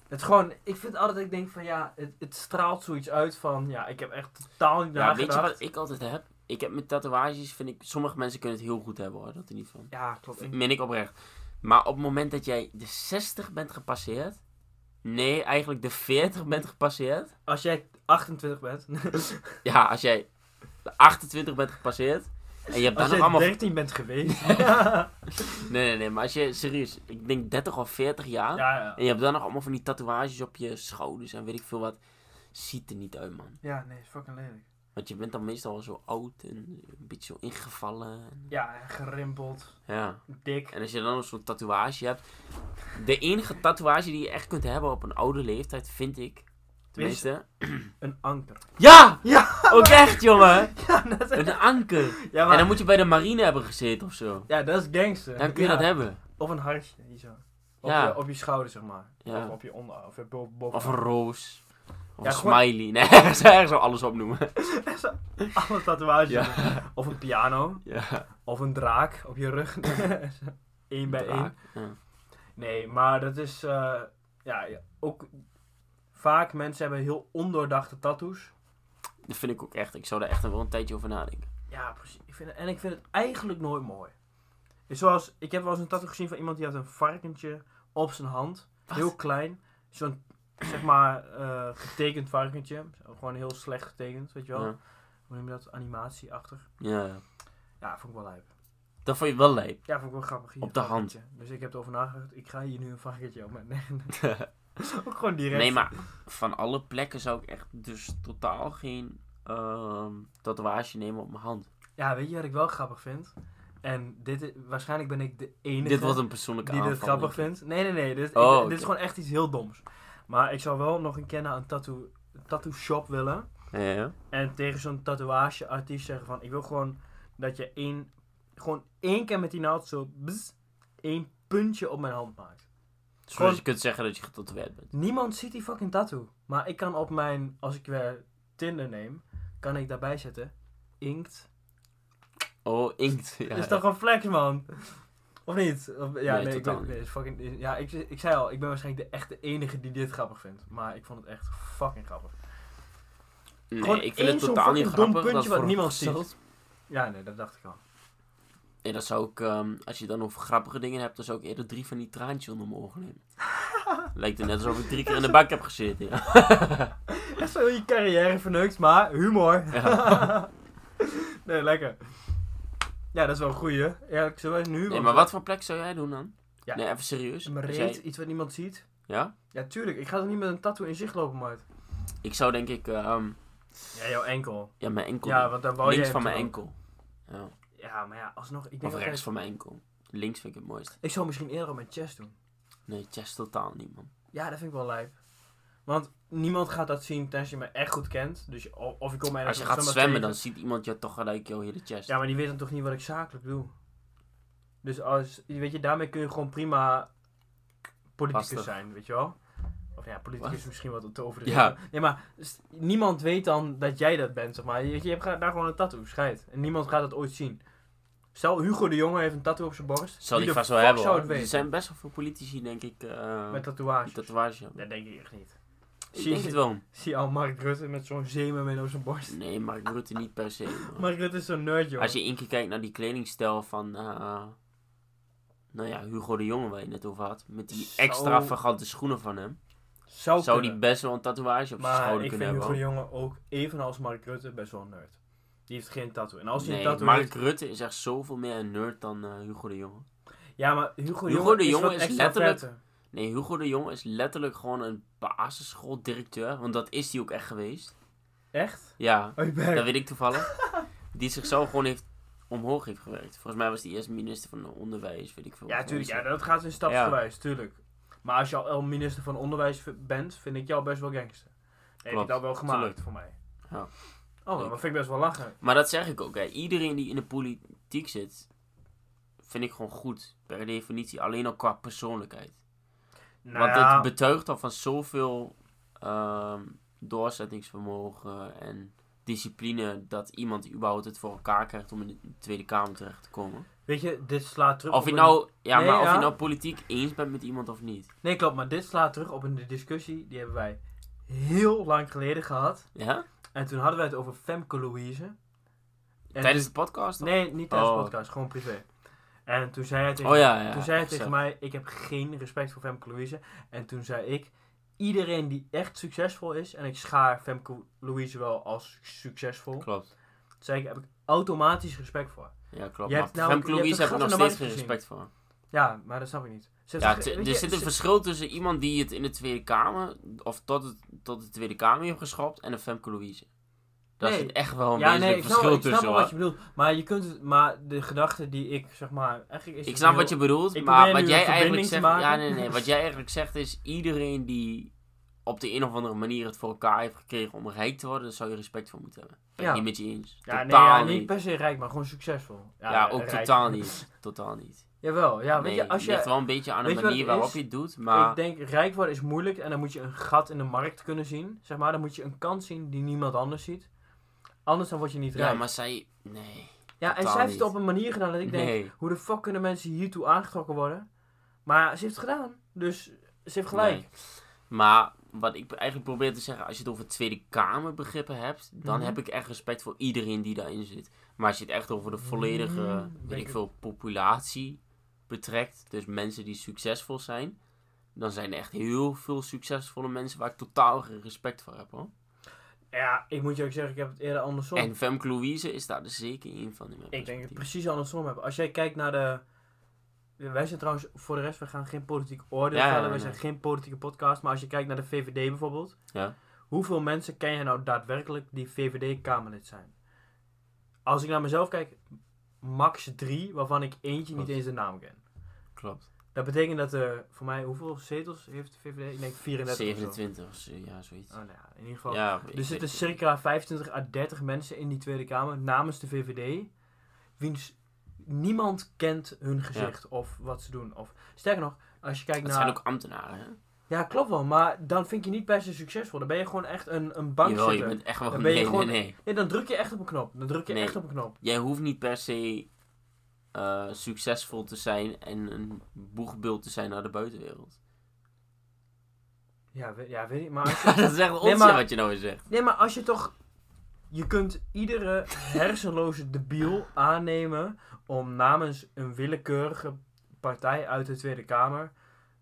A: Het is gewoon, ik vind altijd, ik denk van ja, het, het straalt zoiets uit van ja, ik heb echt totaal niet
B: ja,
A: nagedacht.
B: weet je wat ik altijd heb? Ik heb met tatoeages, vind ik... Sommige mensen kunnen het heel goed hebben hoor, dat er niet van.
A: Ja, klopt. Ik-
B: Min ik oprecht. Maar op het moment dat jij de 60 bent gepasseerd... Nee, eigenlijk de 40 bent gepasseerd.
A: Als jij 28 bent,
B: Ja, als jij de 28 bent gepasseerd... En je hebt dan
A: als
B: nog
A: jij
B: allemaal...
A: 13 bent geweest. ja,
B: Nee, nee, nee, maar als je... Serieus, ik denk 30 of 40 jaar...
A: ja.
B: En je hebt dan nog allemaal van die tatoeages op je schouders en weet ik veel wat. Ziet er niet uit, man.
A: Ja, nee, is fucking lelijk.
B: Want je bent dan meestal wel zo oud en een beetje zo ingevallen. en-
A: Ja, gerimpeld,
B: Ja.
A: dik.
B: En als je dan nog zo'n tatoeage hebt. De enige tatoeage die je echt kunt hebben op een oude leeftijd, vind ik. Tenminste.
A: Een anker.
B: Ja! Oh,
A: Ja,
B: Ook echt, jongen!
A: Ja, dat is...
B: Een anker.
A: Ja,
B: En dan
A: maar...
B: moet je bij de marine hebben gezeten of zo.
A: Ja, dat is gangster.
B: Dan kun je
A: Ja.
B: dat hebben.
A: Of een hartje, hier zo. Op,
B: Ja.
A: je, op je schouder, zeg maar.
B: Ja.
A: Of op je onder, of je bo- boven.
B: Of een roos. Of
A: Ja,
B: een
A: gewoon-
B: smiley. Nee, ik zou alles opnoemen.
A: Alle tatoeages.
B: Ja.
A: Of een piano.
B: Ja.
A: Of een draak op je rug. Eén bij één.
B: Ja.
A: Nee, maar dat is... eh, ja, ja, ook... Vaak mensen hebben heel ondoordachte tattoos.
B: Dat vind ik ook echt. Ik zou daar echt wel een tijdje over nadenken.
A: Ja, precies. Ik vind het, en ik vind het eigenlijk nooit mooi. Is zoals, ik heb wel eens een tattoo gezien van iemand die had een varkentje op zijn hand.
B: Wat?
A: Heel klein. Zo'n, zeg maar, eh, getekend varkentje. Gewoon heel slecht getekend, weet je wel.
B: Ja.
A: hoe noem je dat, animatieachtig.
B: ja.
A: Ja, vond ik wel lijp.
B: Dat vond je wel lijp.
A: Ja, vond ik wel grappig. Hier,
B: Op de
A: een
B: hand.
A: varkentje. Dus ik heb erover nagedacht, ik ga hier nu een varkentje op mijn Ook gewoon direct.
B: nee, maar van alle plekken zou ik echt dus totaal geen ehm tatoeage nemen op mijn hand.
A: Ja, weet je wat ik wel grappig vind? En dit is, waarschijnlijk ben ik de enige
B: Dit wordt een persoonlijke
A: die dit
B: aanval.
A: grappig
B: denk ik.
A: vindt. Nee, nee, nee. Dit, ik-
B: Oh,
A: dit is
B: oké.
A: gewoon echt iets heel doms. Maar ik zou wel nog een keer naar een tattoo, tattoo shop willen.
B: Ja, ja.
A: En tegen zo'n tatoeage artiest zeggen van... Ik wil gewoon dat je één... Gewoon één keer met die naald zo... bzz, één puntje op mijn hand maakt.
B: Zodat je kunt zeggen dat je getatoeëerd bent.
A: Niemand ziet die fucking tattoo. Maar ik kan op mijn, als ik weer Tinder neem, kan ik daarbij zetten inkt.
B: Oh, inkt. Ja,
A: is toch een flex, man? Of niet? Of- ja,
B: Nee,
A: nee, ik
B: totaal
A: ben,
B: niet.
A: nee, is fucking, ja ik, ik zei al, ik ben waarschijnlijk de echte enige die dit grappig vindt. Maar ik vond het echt fucking grappig. gewoon
B: Nee, ik vind
A: één
B: het
A: zo'n
B: totaal niet
A: fucking dom
B: grappig.
A: puntje
B: dat
A: wat
B: voor-
A: niemand ziet. Ja, nee, dat dacht ik al.
B: Nee, dat zou ik, ehm, als je het dan over grappige dingen hebt, dan zou ik eerder drie van die traantjes onder mijn ogen nemen. Lijkt er net alsof ik drie keer in de bak heb gezeten. Ja.
A: Echt zo je carrière verneukt, maar humor. nee, lekker. Ja, dat is wel een goeie. Ja, ik zou nu...
B: Nee, maar wat voor plek zou jij doen dan?
A: Ja.
B: Nee, even serieus.
A: Mijn
B: Als
A: reet,
B: jij-
A: iets wat niemand ziet.
B: Ja?
A: Ja, tuurlijk. Ik ga toch niet met een tattoo in zicht lopen, maat.
B: Ik zou denk ik, ehm,
A: Ja, jouw enkel.
B: ja, mijn enkel.
A: Ja,
B: doen.
A: want dan wou
B: links
A: jij
B: van
A: hem
B: mijn
A: toch
B: enkel. Ja.
A: ook. Ja, maar ja, alsnog. Ik denk
B: Of
A: dat
B: rechts
A: ik,
B: van mijn enkel. Links vind ik het mooist.
A: ik zou misschien eerder op mijn chest doen.
B: Nee, chest totaal niet, man.
A: Ja, dat vind ik wel lijp. Want niemand gaat dat zien tenzij je me echt goed kent. Dus je- of of ik kom mij
B: Als
A: ergens
B: je
A: op
B: gaat
A: het zwembad
B: zwemmen, dan
A: tegen.
B: ziet iemand je toch gelijk, joh, hier de chest.
A: Ja, maar die weet dan toch niet wat ik zakelijk doe. Dus als, weet je, daarmee kun je gewoon prima politicus
B: Lastig.
A: zijn, weet je wel? Of ja, politicus
B: Wat?
A: is misschien wat te overdreven.
B: Ja.
A: Nee, maar s- niemand weet dan dat jij dat bent, zeg maar. Je, je hebt gra- daar gewoon een tattoo, scheid. En niemand gaat dat ooit zien. Stel, Hugo de Jonge heeft een tattoo op zijn borst.
B: Zal
A: Wie
B: die
A: de
B: vast wel
A: fuck
B: hebben,
A: zou
B: hoor.
A: het
B: Er
A: weten?
B: zijn best wel veel politici, denk ik, eh
A: Met
B: met
A: tatoeage.
B: tatoeage. hebben.
A: Dat denk ik echt niet.
B: Ik denk het wel.
A: Zie al Mark Rutte met zo'n zeemer mee op zijn borst.
B: Nee, Mark Rutte niet per se. man.
A: Mark Rutte is zo'n nerd, joh.
B: Als je één keer kijkt naar die kledingstijl van, eh, nou ja, Hugo de Jonge, waar je het net over had. Met die
A: Zo-
B: extravagante schoenen van hem.
A: zou
B: Zou die
A: kunnen.
B: best wel een tatoeage op zijn
A: Maar
B: schouder
A: ik
B: kunnen
A: vind Hugo
B: hebben.
A: de
B: hoor.
A: Jonge ook, evenals Mark Rutte, best wel een nerd. Die heeft geen tattoo. En als hij een
B: Nee,
A: tattoo
B: Mark
A: heeft...
B: Rutte is echt zoveel meer een nerd dan eh, Hugo de Jonge.
A: Ja, maar Hugo de
B: Hugo
A: Jonge
B: de
A: is,
B: Jonge
A: wat
B: is
A: extra
B: letterlijk-
A: vetter.
B: Nee, Hugo de Jonge is letterlijk gewoon een basisschooldirecteur. Want dat is hij ook echt geweest.
A: Echt?
B: Ja,
A: Oh, je bent...
B: dat weet ik toevallig. Die zichzelf gewoon heeft omhoog heeft gewerkt. Volgens mij was hij eerst minister van onderwijs, weet ik veel.
A: Ja,
B: Of
A: tuurlijk.
B: zo.
A: Ja, dat gaat in stapsgewijs, tuurlijk. Maar als je al minister van Onderwijs v- bent, vind ik jou best wel gangster. Nee,
B: Klopt,
A: dat wel gemaakt
B: tuurlijk.
A: voor mij.
B: Ja.
A: Oh, maar dat vind ik best wel lachen.
B: Maar dat zeg ik ook, hè. Iedereen die in de politiek zit, vind ik gewoon goed. Per definitie. Alleen al qua persoonlijkheid.
A: Nou,
B: Want
A: ja,
B: het betuigt al van zoveel ehm, doorzettingsvermogen en discipline dat iemand überhaupt het voor elkaar krijgt om in de Tweede Kamer terecht te komen.
A: weet je, dit slaat terug
B: Of
A: op
B: je
A: een-
B: nou, ja,
A: Nee,
B: maar of
A: ja.
B: je nou politiek eens bent met iemand of niet.
A: Nee, klopt, maar dit slaat terug op een discussie die hebben wij heel lang geleden gehad.
B: Ja?
A: En toen hadden wij het over Femke Louise. En
B: Tijdens de podcast? of-
A: dus Nee, niet tijdens de
B: Oh.
A: podcast, gewoon privé. En toen zei hij tegen,
B: Oh ja, ja.
A: toen zei hij
B: ja,
A: tegen
B: zo.
A: mij, ik heb geen respect voor Femke Louise. En toen zei ik, iedereen die echt succesvol is, en ik schaar Femke Louise wel als succesvol,
B: Klopt.
A: toen zei ik, heb ik automatisch respect voor.
B: Ja, klopt.
A: Je
B: Maar
A: hebt namelijk-
B: Femke
A: je hebt
B: Louise
A: het
B: heb ik
A: gat
B: nog
A: in de
B: steeds geen
A: markt gezien.
B: respect voor.
A: Ja, maar dat snap ik niet. Ze heeft
B: Ja,
A: toch
B: t-
A: geen- weet
B: er
A: je,
B: zit een
A: ze-
B: verschil tussen iemand die het in de Tweede Kamer, of tot, het, tot de Tweede Kamer heeft geschopt, en een Femke Louise. Daar
A: Nee.
B: zit echt wel een
A: Ja,
B: wezenlijk
A: nee, ik snap,
B: verschil
A: wel- ik snap
B: tussen.
A: wel
B: hoor.
A: wat je bedoelt. Maar je kunt het, maar de gedachte die ik, zeg maar, eigenlijk is
B: Ik
A: het
B: snap
A: heel-
B: wat je bedoelt,
A: Ik
B: maar
A: probeer
B: wat
A: nu
B: jij
A: een
B: eigenlijk
A: verbinding te
B: zegt,
A: maken.
B: ja, nee, nee, wat jij eigenlijk zegt is iedereen die op de een of andere manier het voor elkaar heeft gekregen om rijk te worden, daar zou je respect voor moeten hebben. Ben ik
A: Ja.
B: niet met je eens.
A: Ja, nee,
B: totaal
A: ja, niet
B: niet.
A: per se rijk, maar gewoon succesvol.
B: Ja, ook
A: rijk.
B: totaal niet. Totaal niet.
A: Jawel, ja, weet
B: nee,
A: je, als
B: het ligt
A: je,
B: wel een beetje aan de
A: weet je wat
B: manier
A: het
B: waarop
A: is?
B: je het doet, maar
A: Ik denk, rijk worden is moeilijk en dan moet je een gat in de markt kunnen zien. Zeg maar, dan moet je een kans zien die niemand anders ziet. Anders dan word je niet rijk.
B: ja,
A: Ja,
B: maar zij, nee,
A: en
B: totaal
A: zij heeft het
B: niet.
A: op een manier gedaan dat ik denk,
B: nee,
A: hoe de fuck kunnen mensen hiertoe aangetrokken worden? Maar ze heeft het gedaan, dus ze heeft gelijk.
B: Nee. Maar wat ik eigenlijk probeer te zeggen, als je het over Tweede Kamer begrippen hebt, dan
A: Mhm.
B: heb ik echt respect voor iedereen die daarin zit. Maar als je het echt over de volledige,
A: Mm,
B: weet
A: denk
B: ik
A: ik.
B: veel, populatie betrekt, dus mensen die succesvol zijn, dan zijn er echt heel veel succesvolle mensen waar ik totaal geen respect voor heb hoor.
A: Ja, ik moet je ook zeggen, ik heb het eerder andersom.
B: En Femke Louise is daar er zeker één van. in
A: ik
B: mijn
A: denk dat ik het
B: perspectief.
A: precies andersom heb. Als jij kijkt naar de... Wij zijn trouwens, voor de rest, we gaan geen politiek oordeel
B: Ja, ja,
A: vellen.
B: ja,
A: wij
B: nee.
A: zijn geen politieke podcast. Maar als je kijkt naar de VVD bijvoorbeeld.
B: Ja.
A: Hoeveel mensen ken je nou daadwerkelijk die VVD-Kamerlid zijn? Als ik naar mezelf kijk, max drie, waarvan ik eentje
B: Klopt.
A: niet eens de naam ken.
B: Klopt.
A: Dat betekent dat er, voor mij, hoeveel zetels heeft de VVD? Ik denk 34 of zo.
B: 27 of zo, ja, zoiets.
A: Oh, nou ja, in ieder geval.
B: ja,
A: Er zitten circa 25 à 30 mensen in die Tweede Kamer namens de VVD. Wiens niemand kent hun gezicht of wat ze doen. Of, sterker nog, als je kijkt
B: Dat
A: naar...
B: zijn ook ambtenaren, hè?
A: Ja, klopt wel, maar dan vind je niet per se succesvol. Dan ben je gewoon echt een, een bankzitter.
B: Jawel, je bent echt wel
A: Dan
B: gewoon...
A: ben je
B: Nee,
A: gewoon-
B: nee, nee.
A: Nee, dan druk je echt op een knop. Dan druk je
B: Nee.
A: echt op een knop.
B: Jij hoeft niet per se eh, succesvol te zijn en een boegbeeld te zijn naar de buitenwereld.
A: Ja, we- ja weet ik, maar... als je-
B: dat is echt onzin
A: maar-
B: wat je nou weer zegt.
A: Nee, maar als je toch... Je kunt iedere hersenloze debiel aannemen om namens een willekeurige partij uit de Tweede Kamer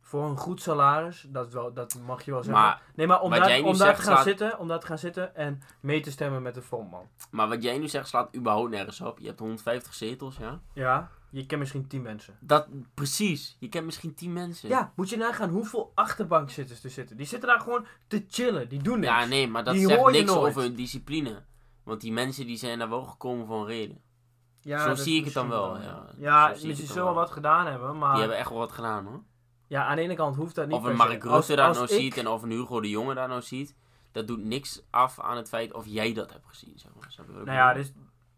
A: voor een goed salaris, dat, wel, dat mag je wel zeggen.
B: Maar,
A: nee, maar om,
B: wat
A: daar,
B: jij nu
A: om, daar te
B: zegt
A: gaan
B: slaat-
A: zitten, om daar te gaan zitten en mee te stemmen met de frontman.
B: maar wat jij nu zegt slaat überhaupt nergens op. Je hebt 150 zetels, ja?
A: Ja, je kent misschien tien mensen.
B: Dat, precies. Je kent misschien 10 mensen.
A: Ja, moet je nagaan hoeveel achterbankzitters er zitten. Die zitten daar gewoon te chillen, die doen niks.
B: Ja, nee, maar dat
A: Die
B: zegt
A: hoor je
B: niks
A: nooit.
B: over hun discipline. Want die mensen die zijn daar wel gekomen voor een reden.
A: Ja,
B: zo
A: dat
B: zie ik het dan
A: misschien
B: wel, ja.
A: Ja,
B: Zo zie ik
A: dus ze
B: het dan
A: zullen wel
B: wel.
A: wat gedaan hebben, maar...
B: Die hebben echt wel wat gedaan hoor.
A: Ja, aan de ene kant hoeft dat niet
B: Of een
A: per se.
B: Mark
A: Als-
B: Rutte daar
A: als
B: nou
A: ik-
B: ziet en of een Hugo de Jonge daar nou ziet. Dat doet niks af aan het feit of jij dat hebt gezien. Zeg maar. Snap je wat ik
A: Nou ja,
B: bedoel?
A: dus,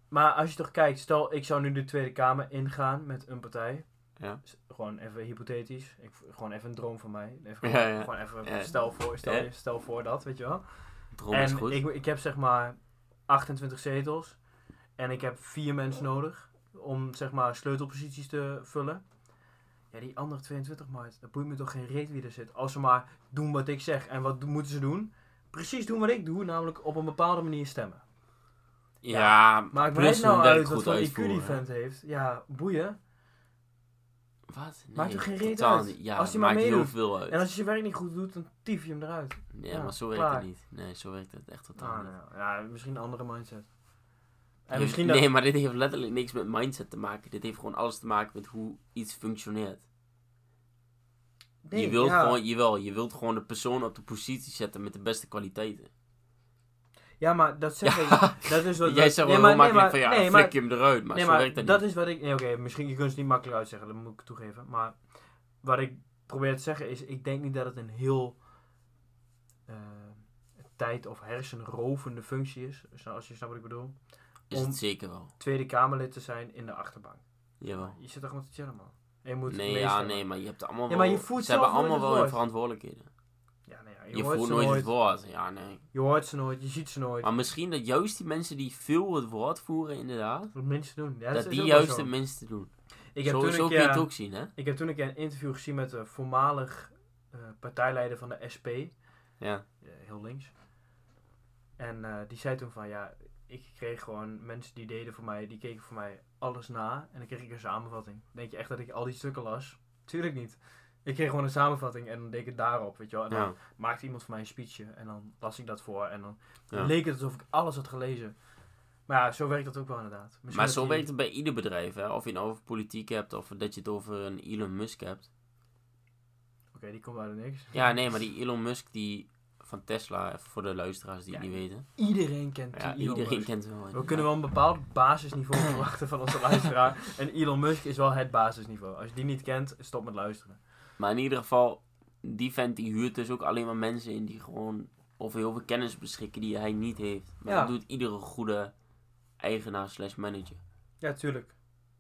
A: maar als je toch kijkt, stel ik zou nu de Tweede Kamer ingaan met een partij.
B: Ja.
A: S- Gewoon even hypothetisch. Ik, gewoon even een droom van mij. Even,
B: Ja,
A: gewoon,
B: ja.
A: gewoon even
B: Ja.
A: stel, voor, stel,
B: Ja.
A: stel voor dat, weet je wel.
B: Droom is
A: en
B: goed.
A: Ik, ik heb zeg maar 28 zetels. En ik heb vier mensen nodig om zeg maar sleutelposities te vullen. Ja, die andere 22 maart, dat boeit me toch geen reet wie er zit. Als ze maar doen wat ik zeg. En wat do- moeten ze doen? Precies doen wat ik doe, namelijk op een bepaalde manier stemmen.
B: ja,
A: Maar ik
B: plus
A: weet nou
B: hun werk
A: uit wat
B: goed
A: voor IQ die
B: uitvoeren.
A: vent heeft. Ja, boeien.
B: Wat? Nee,
A: Maakt toch geen reet
B: totaal
A: uit?
B: niet. Ja,
A: Als hij maar
B: maakt heel
A: meedoet.
B: veel uit.
A: En als je je werk niet goed doet, dan tief je hem eruit.
B: Ja,
A: Ja,
B: maar zo werkt
A: klaar.
B: het niet. Nee, zo werkt het echt totaal
A: Ah,
B: niet.
A: nou, ja, misschien een andere mindset. En
B: Heeft-
A: misschien
B: nee,
A: dat...
B: maar dit heeft letterlijk niks met mindset te maken. Dit heeft gewoon alles te maken met hoe iets functioneert.
A: Nee,
B: je, wilt
A: ja.
B: gewoon, jawel, je wilt gewoon de persoon op de positie zetten met de beste kwaliteiten.
A: Ja, maar dat zeg ik. Dat is wat...
B: Jij
A: wat-
B: zegt
A: nee,
B: wel
A: maar-
B: heel makkelijk
A: nee,
B: van ja,
A: maar- nee,
B: dan
A: maar-
B: flik je hem eruit. Maar
A: nee,
B: zo
A: maar
B: werkt dat,
A: dat
B: niet.
A: is wat ik... Nee, oké, misschien je kunt het niet makkelijk uitzeggen. Dat moet ik toegeven. Maar wat ik probeer te zeggen is... Ik denk niet dat het een heel... eh, tijd- of hersenrovende functie is. Als je snapt wat ik bedoel.
B: Is het
A: om-
B: zeker wel.
A: Tweede Kamerlid te zijn in de achterbank.
B: Jawel.
A: Je zit toch gewoon te chillen, man. En je moet
B: Oh. Nee, ja,
A: meestemmen.
B: nee, maar je hebt allemaal
A: Ja,
B: wel...
A: maar je voelt
B: ze hebben
A: zelf nooit
B: allemaal
A: het
B: wel hun
A: woord.
B: verantwoordelijkheden.
A: Ja, nee, ja, je,
B: Je,
A: hoort
B: voelt
A: ze
B: nooit
A: nooit.
B: het woord. Ja, nee.
A: Je hoort ze nooit, je ziet ze nooit.
B: Maar misschien dat juist die mensen die veel het woord voeren, inderdaad,
A: Wat mensen doen. Ja,
B: dat
A: is
B: die
A: ook wel
B: juist
A: zo.
B: het minste doen.
A: Ik heb,
B: Zo,
A: toen
B: zo
A: een
B: kun je het
A: keer,
B: ook zien, hè?
A: ik heb toen een keer een interview gezien met de voormalig eh, partijleider van de SP.
B: Ja.
A: eh, heel links. En eh, die zei toen van ja, ik kreeg gewoon mensen die deden voor mij, die keken voor mij alles na. En dan kreeg ik een samenvatting. Denk je echt dat ik al die stukken las? Tuurlijk niet. Ik kreeg gewoon een samenvatting en dan deed ik het daarop, weet je wel. En dan
B: ja.
A: maakte iemand voor mij een speechje en dan las ik dat voor en dan
B: Ja.
A: leek het alsof ik alles had gelezen. Maar ja, zo werkt dat ook wel inderdaad. Misschien
B: Maar
A: dat
B: zo
A: die-
B: werkt het bij ieder bedrijf, hè? Of je het nou over politiek hebt, of dat je het over een Elon Musk hebt.
A: Oké, die komt uit het niks.
B: Ja, nee, maar die Elon Musk die van Tesla, even voor de luisteraars die het
A: Ja,
B: niet weten.
A: Iedereen kent
B: Ja,
A: die Elon
B: iedereen
A: Musk.
B: kent hem wel.
A: We kunnen wel een bepaald basisniveau verwachten van onze luisteraar. En Elon Musk is wel het basisniveau. Als je die niet kent, stop met luisteren.
B: Maar in ieder geval, die vent die huurt dus ook alleen maar mensen in die gewoon over heel veel kennis beschikken die hij niet heeft. Maar
A: Ja.
B: dat doet iedere goede eigenaar slash manager.
A: Ja, tuurlijk.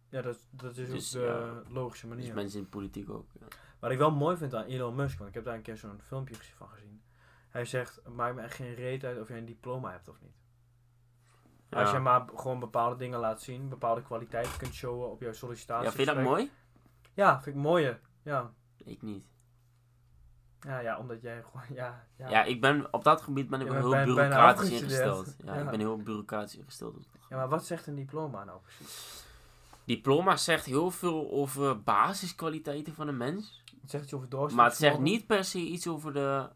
A: Ja, dat, dat is
B: Dus,
A: ook de logische
B: Dus
A: manier.
B: mensen in de politiek ook. Ja.
A: Wat ik wel mooi vind aan Elon Musk, want ik heb daar een keer zo'n filmpje gez- van gezien. Hij zegt, het maakt me echt geen reet uit of jij een diploma hebt of niet. Als
B: Ja.
A: jij maar b- gewoon bepaalde dingen laat zien, bepaalde kwaliteiten kunt showen op jouw sollicitatie.
B: Ja, vind je dat mooi?
A: Ja, vind ik mooier. Ja.
B: Ik niet.
A: Ja, ja, omdat jij gewoon, ja.
B: Ja. ik ben op dat gebied ben ik
A: Je
B: wel
A: bent
B: heel
A: bijna- bijna
B: bureaucratisch
A: afgestudeerd.
B: ingesteld. Ja,
A: Ja.
B: ik ben heel bureaucratisch ingesteld.
A: Ja, maar wat zegt een diploma nou precies?
B: Diploma zegt heel veel over basiskwaliteiten van een mens.
A: Het zegt iets over doorzettingsvermogen.
B: Maar het zegt niet per se iets over de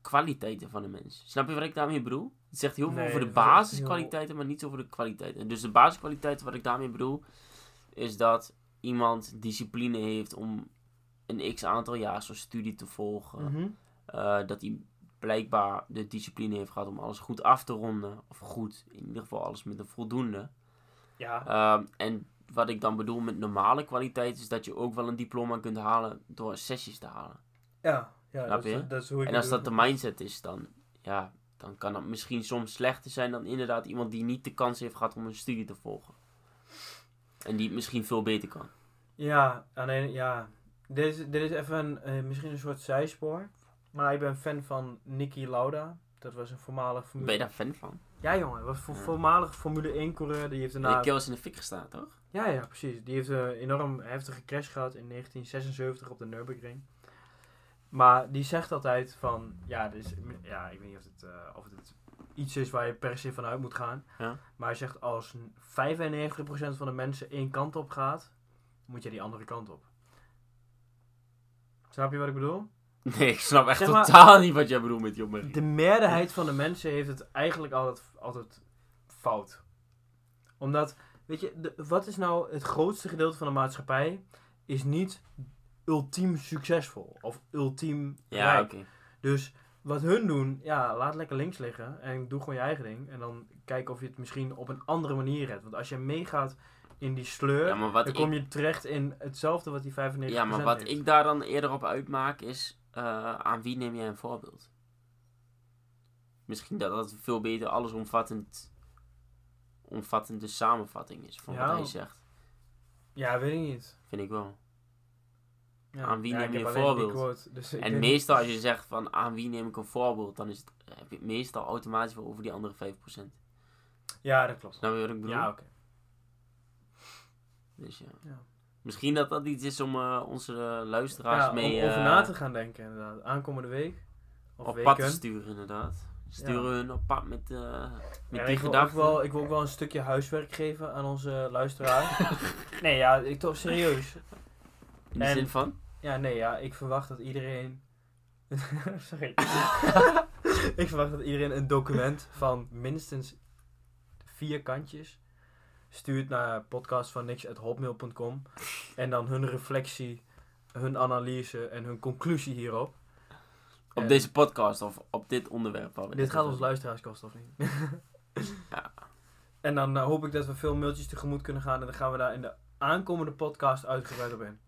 B: kwaliteiten van een mens. Snap je wat ik daarmee bedoel? Het zegt heel veel
A: Nee,
B: over de
A: dat is heel-
B: basiskwaliteiten, maar niet over de kwaliteiten. Dus de basiskwaliteiten wat ik daarmee bedoel, is dat iemand discipline heeft om een x aantal jaar zo'n studie te volgen.
A: Mhm.
B: Eh, dat hij blijkbaar de discipline heeft gehad om alles goed af te ronden. Of goed, in ieder geval alles met een voldoende.
A: Ja.
B: Ehm, en wat ik dan bedoel met normale kwaliteit is dat je ook wel een diploma kunt halen door sessies te halen.
A: Ja, ja
B: Snap
A: dat, is-
B: je?
A: dat is hoe ik
B: En
A: het
B: als
A: doe.
B: dat de mindset is, dan, ja, dan kan dat misschien soms slechter zijn dan inderdaad iemand die niet de kans heeft gehad om een studie te volgen. En die het misschien veel beter kan.
A: Ja, alleen ja. Dit is, dit is even een, eh, misschien een soort zijspoor. Maar ik ben fan van Niki Lauda. Dat was een voormalig Formule
B: Ben je daar fan van?
A: Ja, jongen. Was voor
B: Ja.
A: voormalig Formule 1 coureur. Die heeft
B: Nou,
A: daarna.
B: de keel is in de fik gestaan, toch?
A: Ja, ja, precies. Die heeft een enorm heftige crash gehad in 1976 op de Nürburgring. Maar die zegt altijd van, ja, dit is, ja ik weet niet of het, eh, of het iets is waar je per se van uit moet gaan.
B: Ja.
A: Maar hij zegt als 95% van de mensen één kant op gaat, moet je die andere kant op. Snap je wat ik bedoel?
B: Nee, ik snap echt
A: Zeg maar-
B: totaal niet wat jij bedoelt met die opmerking.
A: De meerderheid van de mensen heeft het eigenlijk altijd, altijd fout. Omdat, weet je, de- wat is nou het grootste gedeelte van de maatschappij? Is niet ultiem succesvol of ultiem
B: Ja,
A: rijk.
B: oké.
A: Dus wat hun doen, ja, laat lekker links liggen en doe gewoon je eigen ding. En dan kijk of je het misschien op een andere manier redt. Want als je meegaat in die sleur,
B: Ja, maar wat
A: dan
B: ik
A: kom je terecht in hetzelfde wat die 95%
B: Ja, maar wat
A: heeft.
B: ik daar dan eerder op uitmaak is eh, aan wie neem jij een voorbeeld? Misschien dat dat een veel beter allesomvattend omvattende samenvatting is van
A: Ja.
B: wat hij zegt.
A: Ja, weet ik niet.
B: Vind ik wel.
A: Ja.
B: Aan wie
A: Ja,
B: neem
A: ik
B: je
A: heb
B: een
A: alleen die
B: voorbeeld?
A: quote, dus ik
B: en
A: weet-
B: meestal als je zegt van aan wie neem ik een voorbeeld, dan is het, eh, heb je het meestal automatisch wel over die andere 5%. Snap
A: Ja, dat klopt.
B: je wat ik bedoel?
A: Ja, oké.
B: Dus ja.
A: Ja.
B: Misschien dat dat iets is om eh, onze eh, luisteraars
A: Ja, om
B: mee
A: over
B: eh,
A: na te gaan denken, inderdaad. Aankomende week. Of
B: op
A: weken.
B: pad te sturen, inderdaad. Sturen hun op pad met, eh, met
A: Ja,
B: die
A: ik, wil ook
B: gedachten.
A: wel, ik wil ook wel een stukje huiswerk geven aan onze luisteraar. nee, ja, ik toch serieus.
B: In de
A: En-
B: zin van?
A: Ja, nee, ja, ik verwacht dat iedereen. Sorry. ik verwacht dat iedereen een document van minstens vier kantjes stuurt naar podcast van niks@hotmail.com en dan hun reflectie, hun analyse en hun conclusie hierop.
B: Op
A: En-
B: deze podcast of op dit onderwerp? waar we
A: Dit
B: net
A: gaat
B: over-
A: ons luisteraars kosten, of niet?
B: Ja.
A: En dan eh, hoop ik dat we veel mailtjes tegemoet kunnen gaan. En dan gaan we daar in de aankomende podcast uitgebreid op in.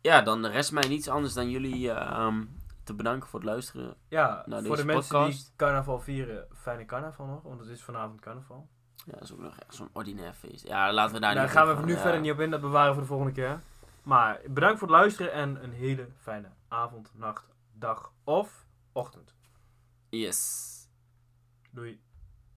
B: Ja, dan rest mij niets anders dan jullie eh, ehm, te bedanken voor het luisteren.
A: Ja,
B: Nou,
A: voor de
B: deze
A: mensen die
B: podcast.
A: carnaval vieren, fijne carnaval nog. Want het is vanavond carnaval.
B: Ja, dat is ook nog echt zo'n ordinair feest. Ja, laten we daar
A: daar
B: niet
A: gaan we
B: over
A: even
B: gaan.
A: nu
B: Ja.
A: verder niet op in. Dat bewaren we voor de volgende keer. Maar bedankt voor het luisteren. En een hele fijne avond, nacht, dag of ochtend.
B: Yes.
A: Doei.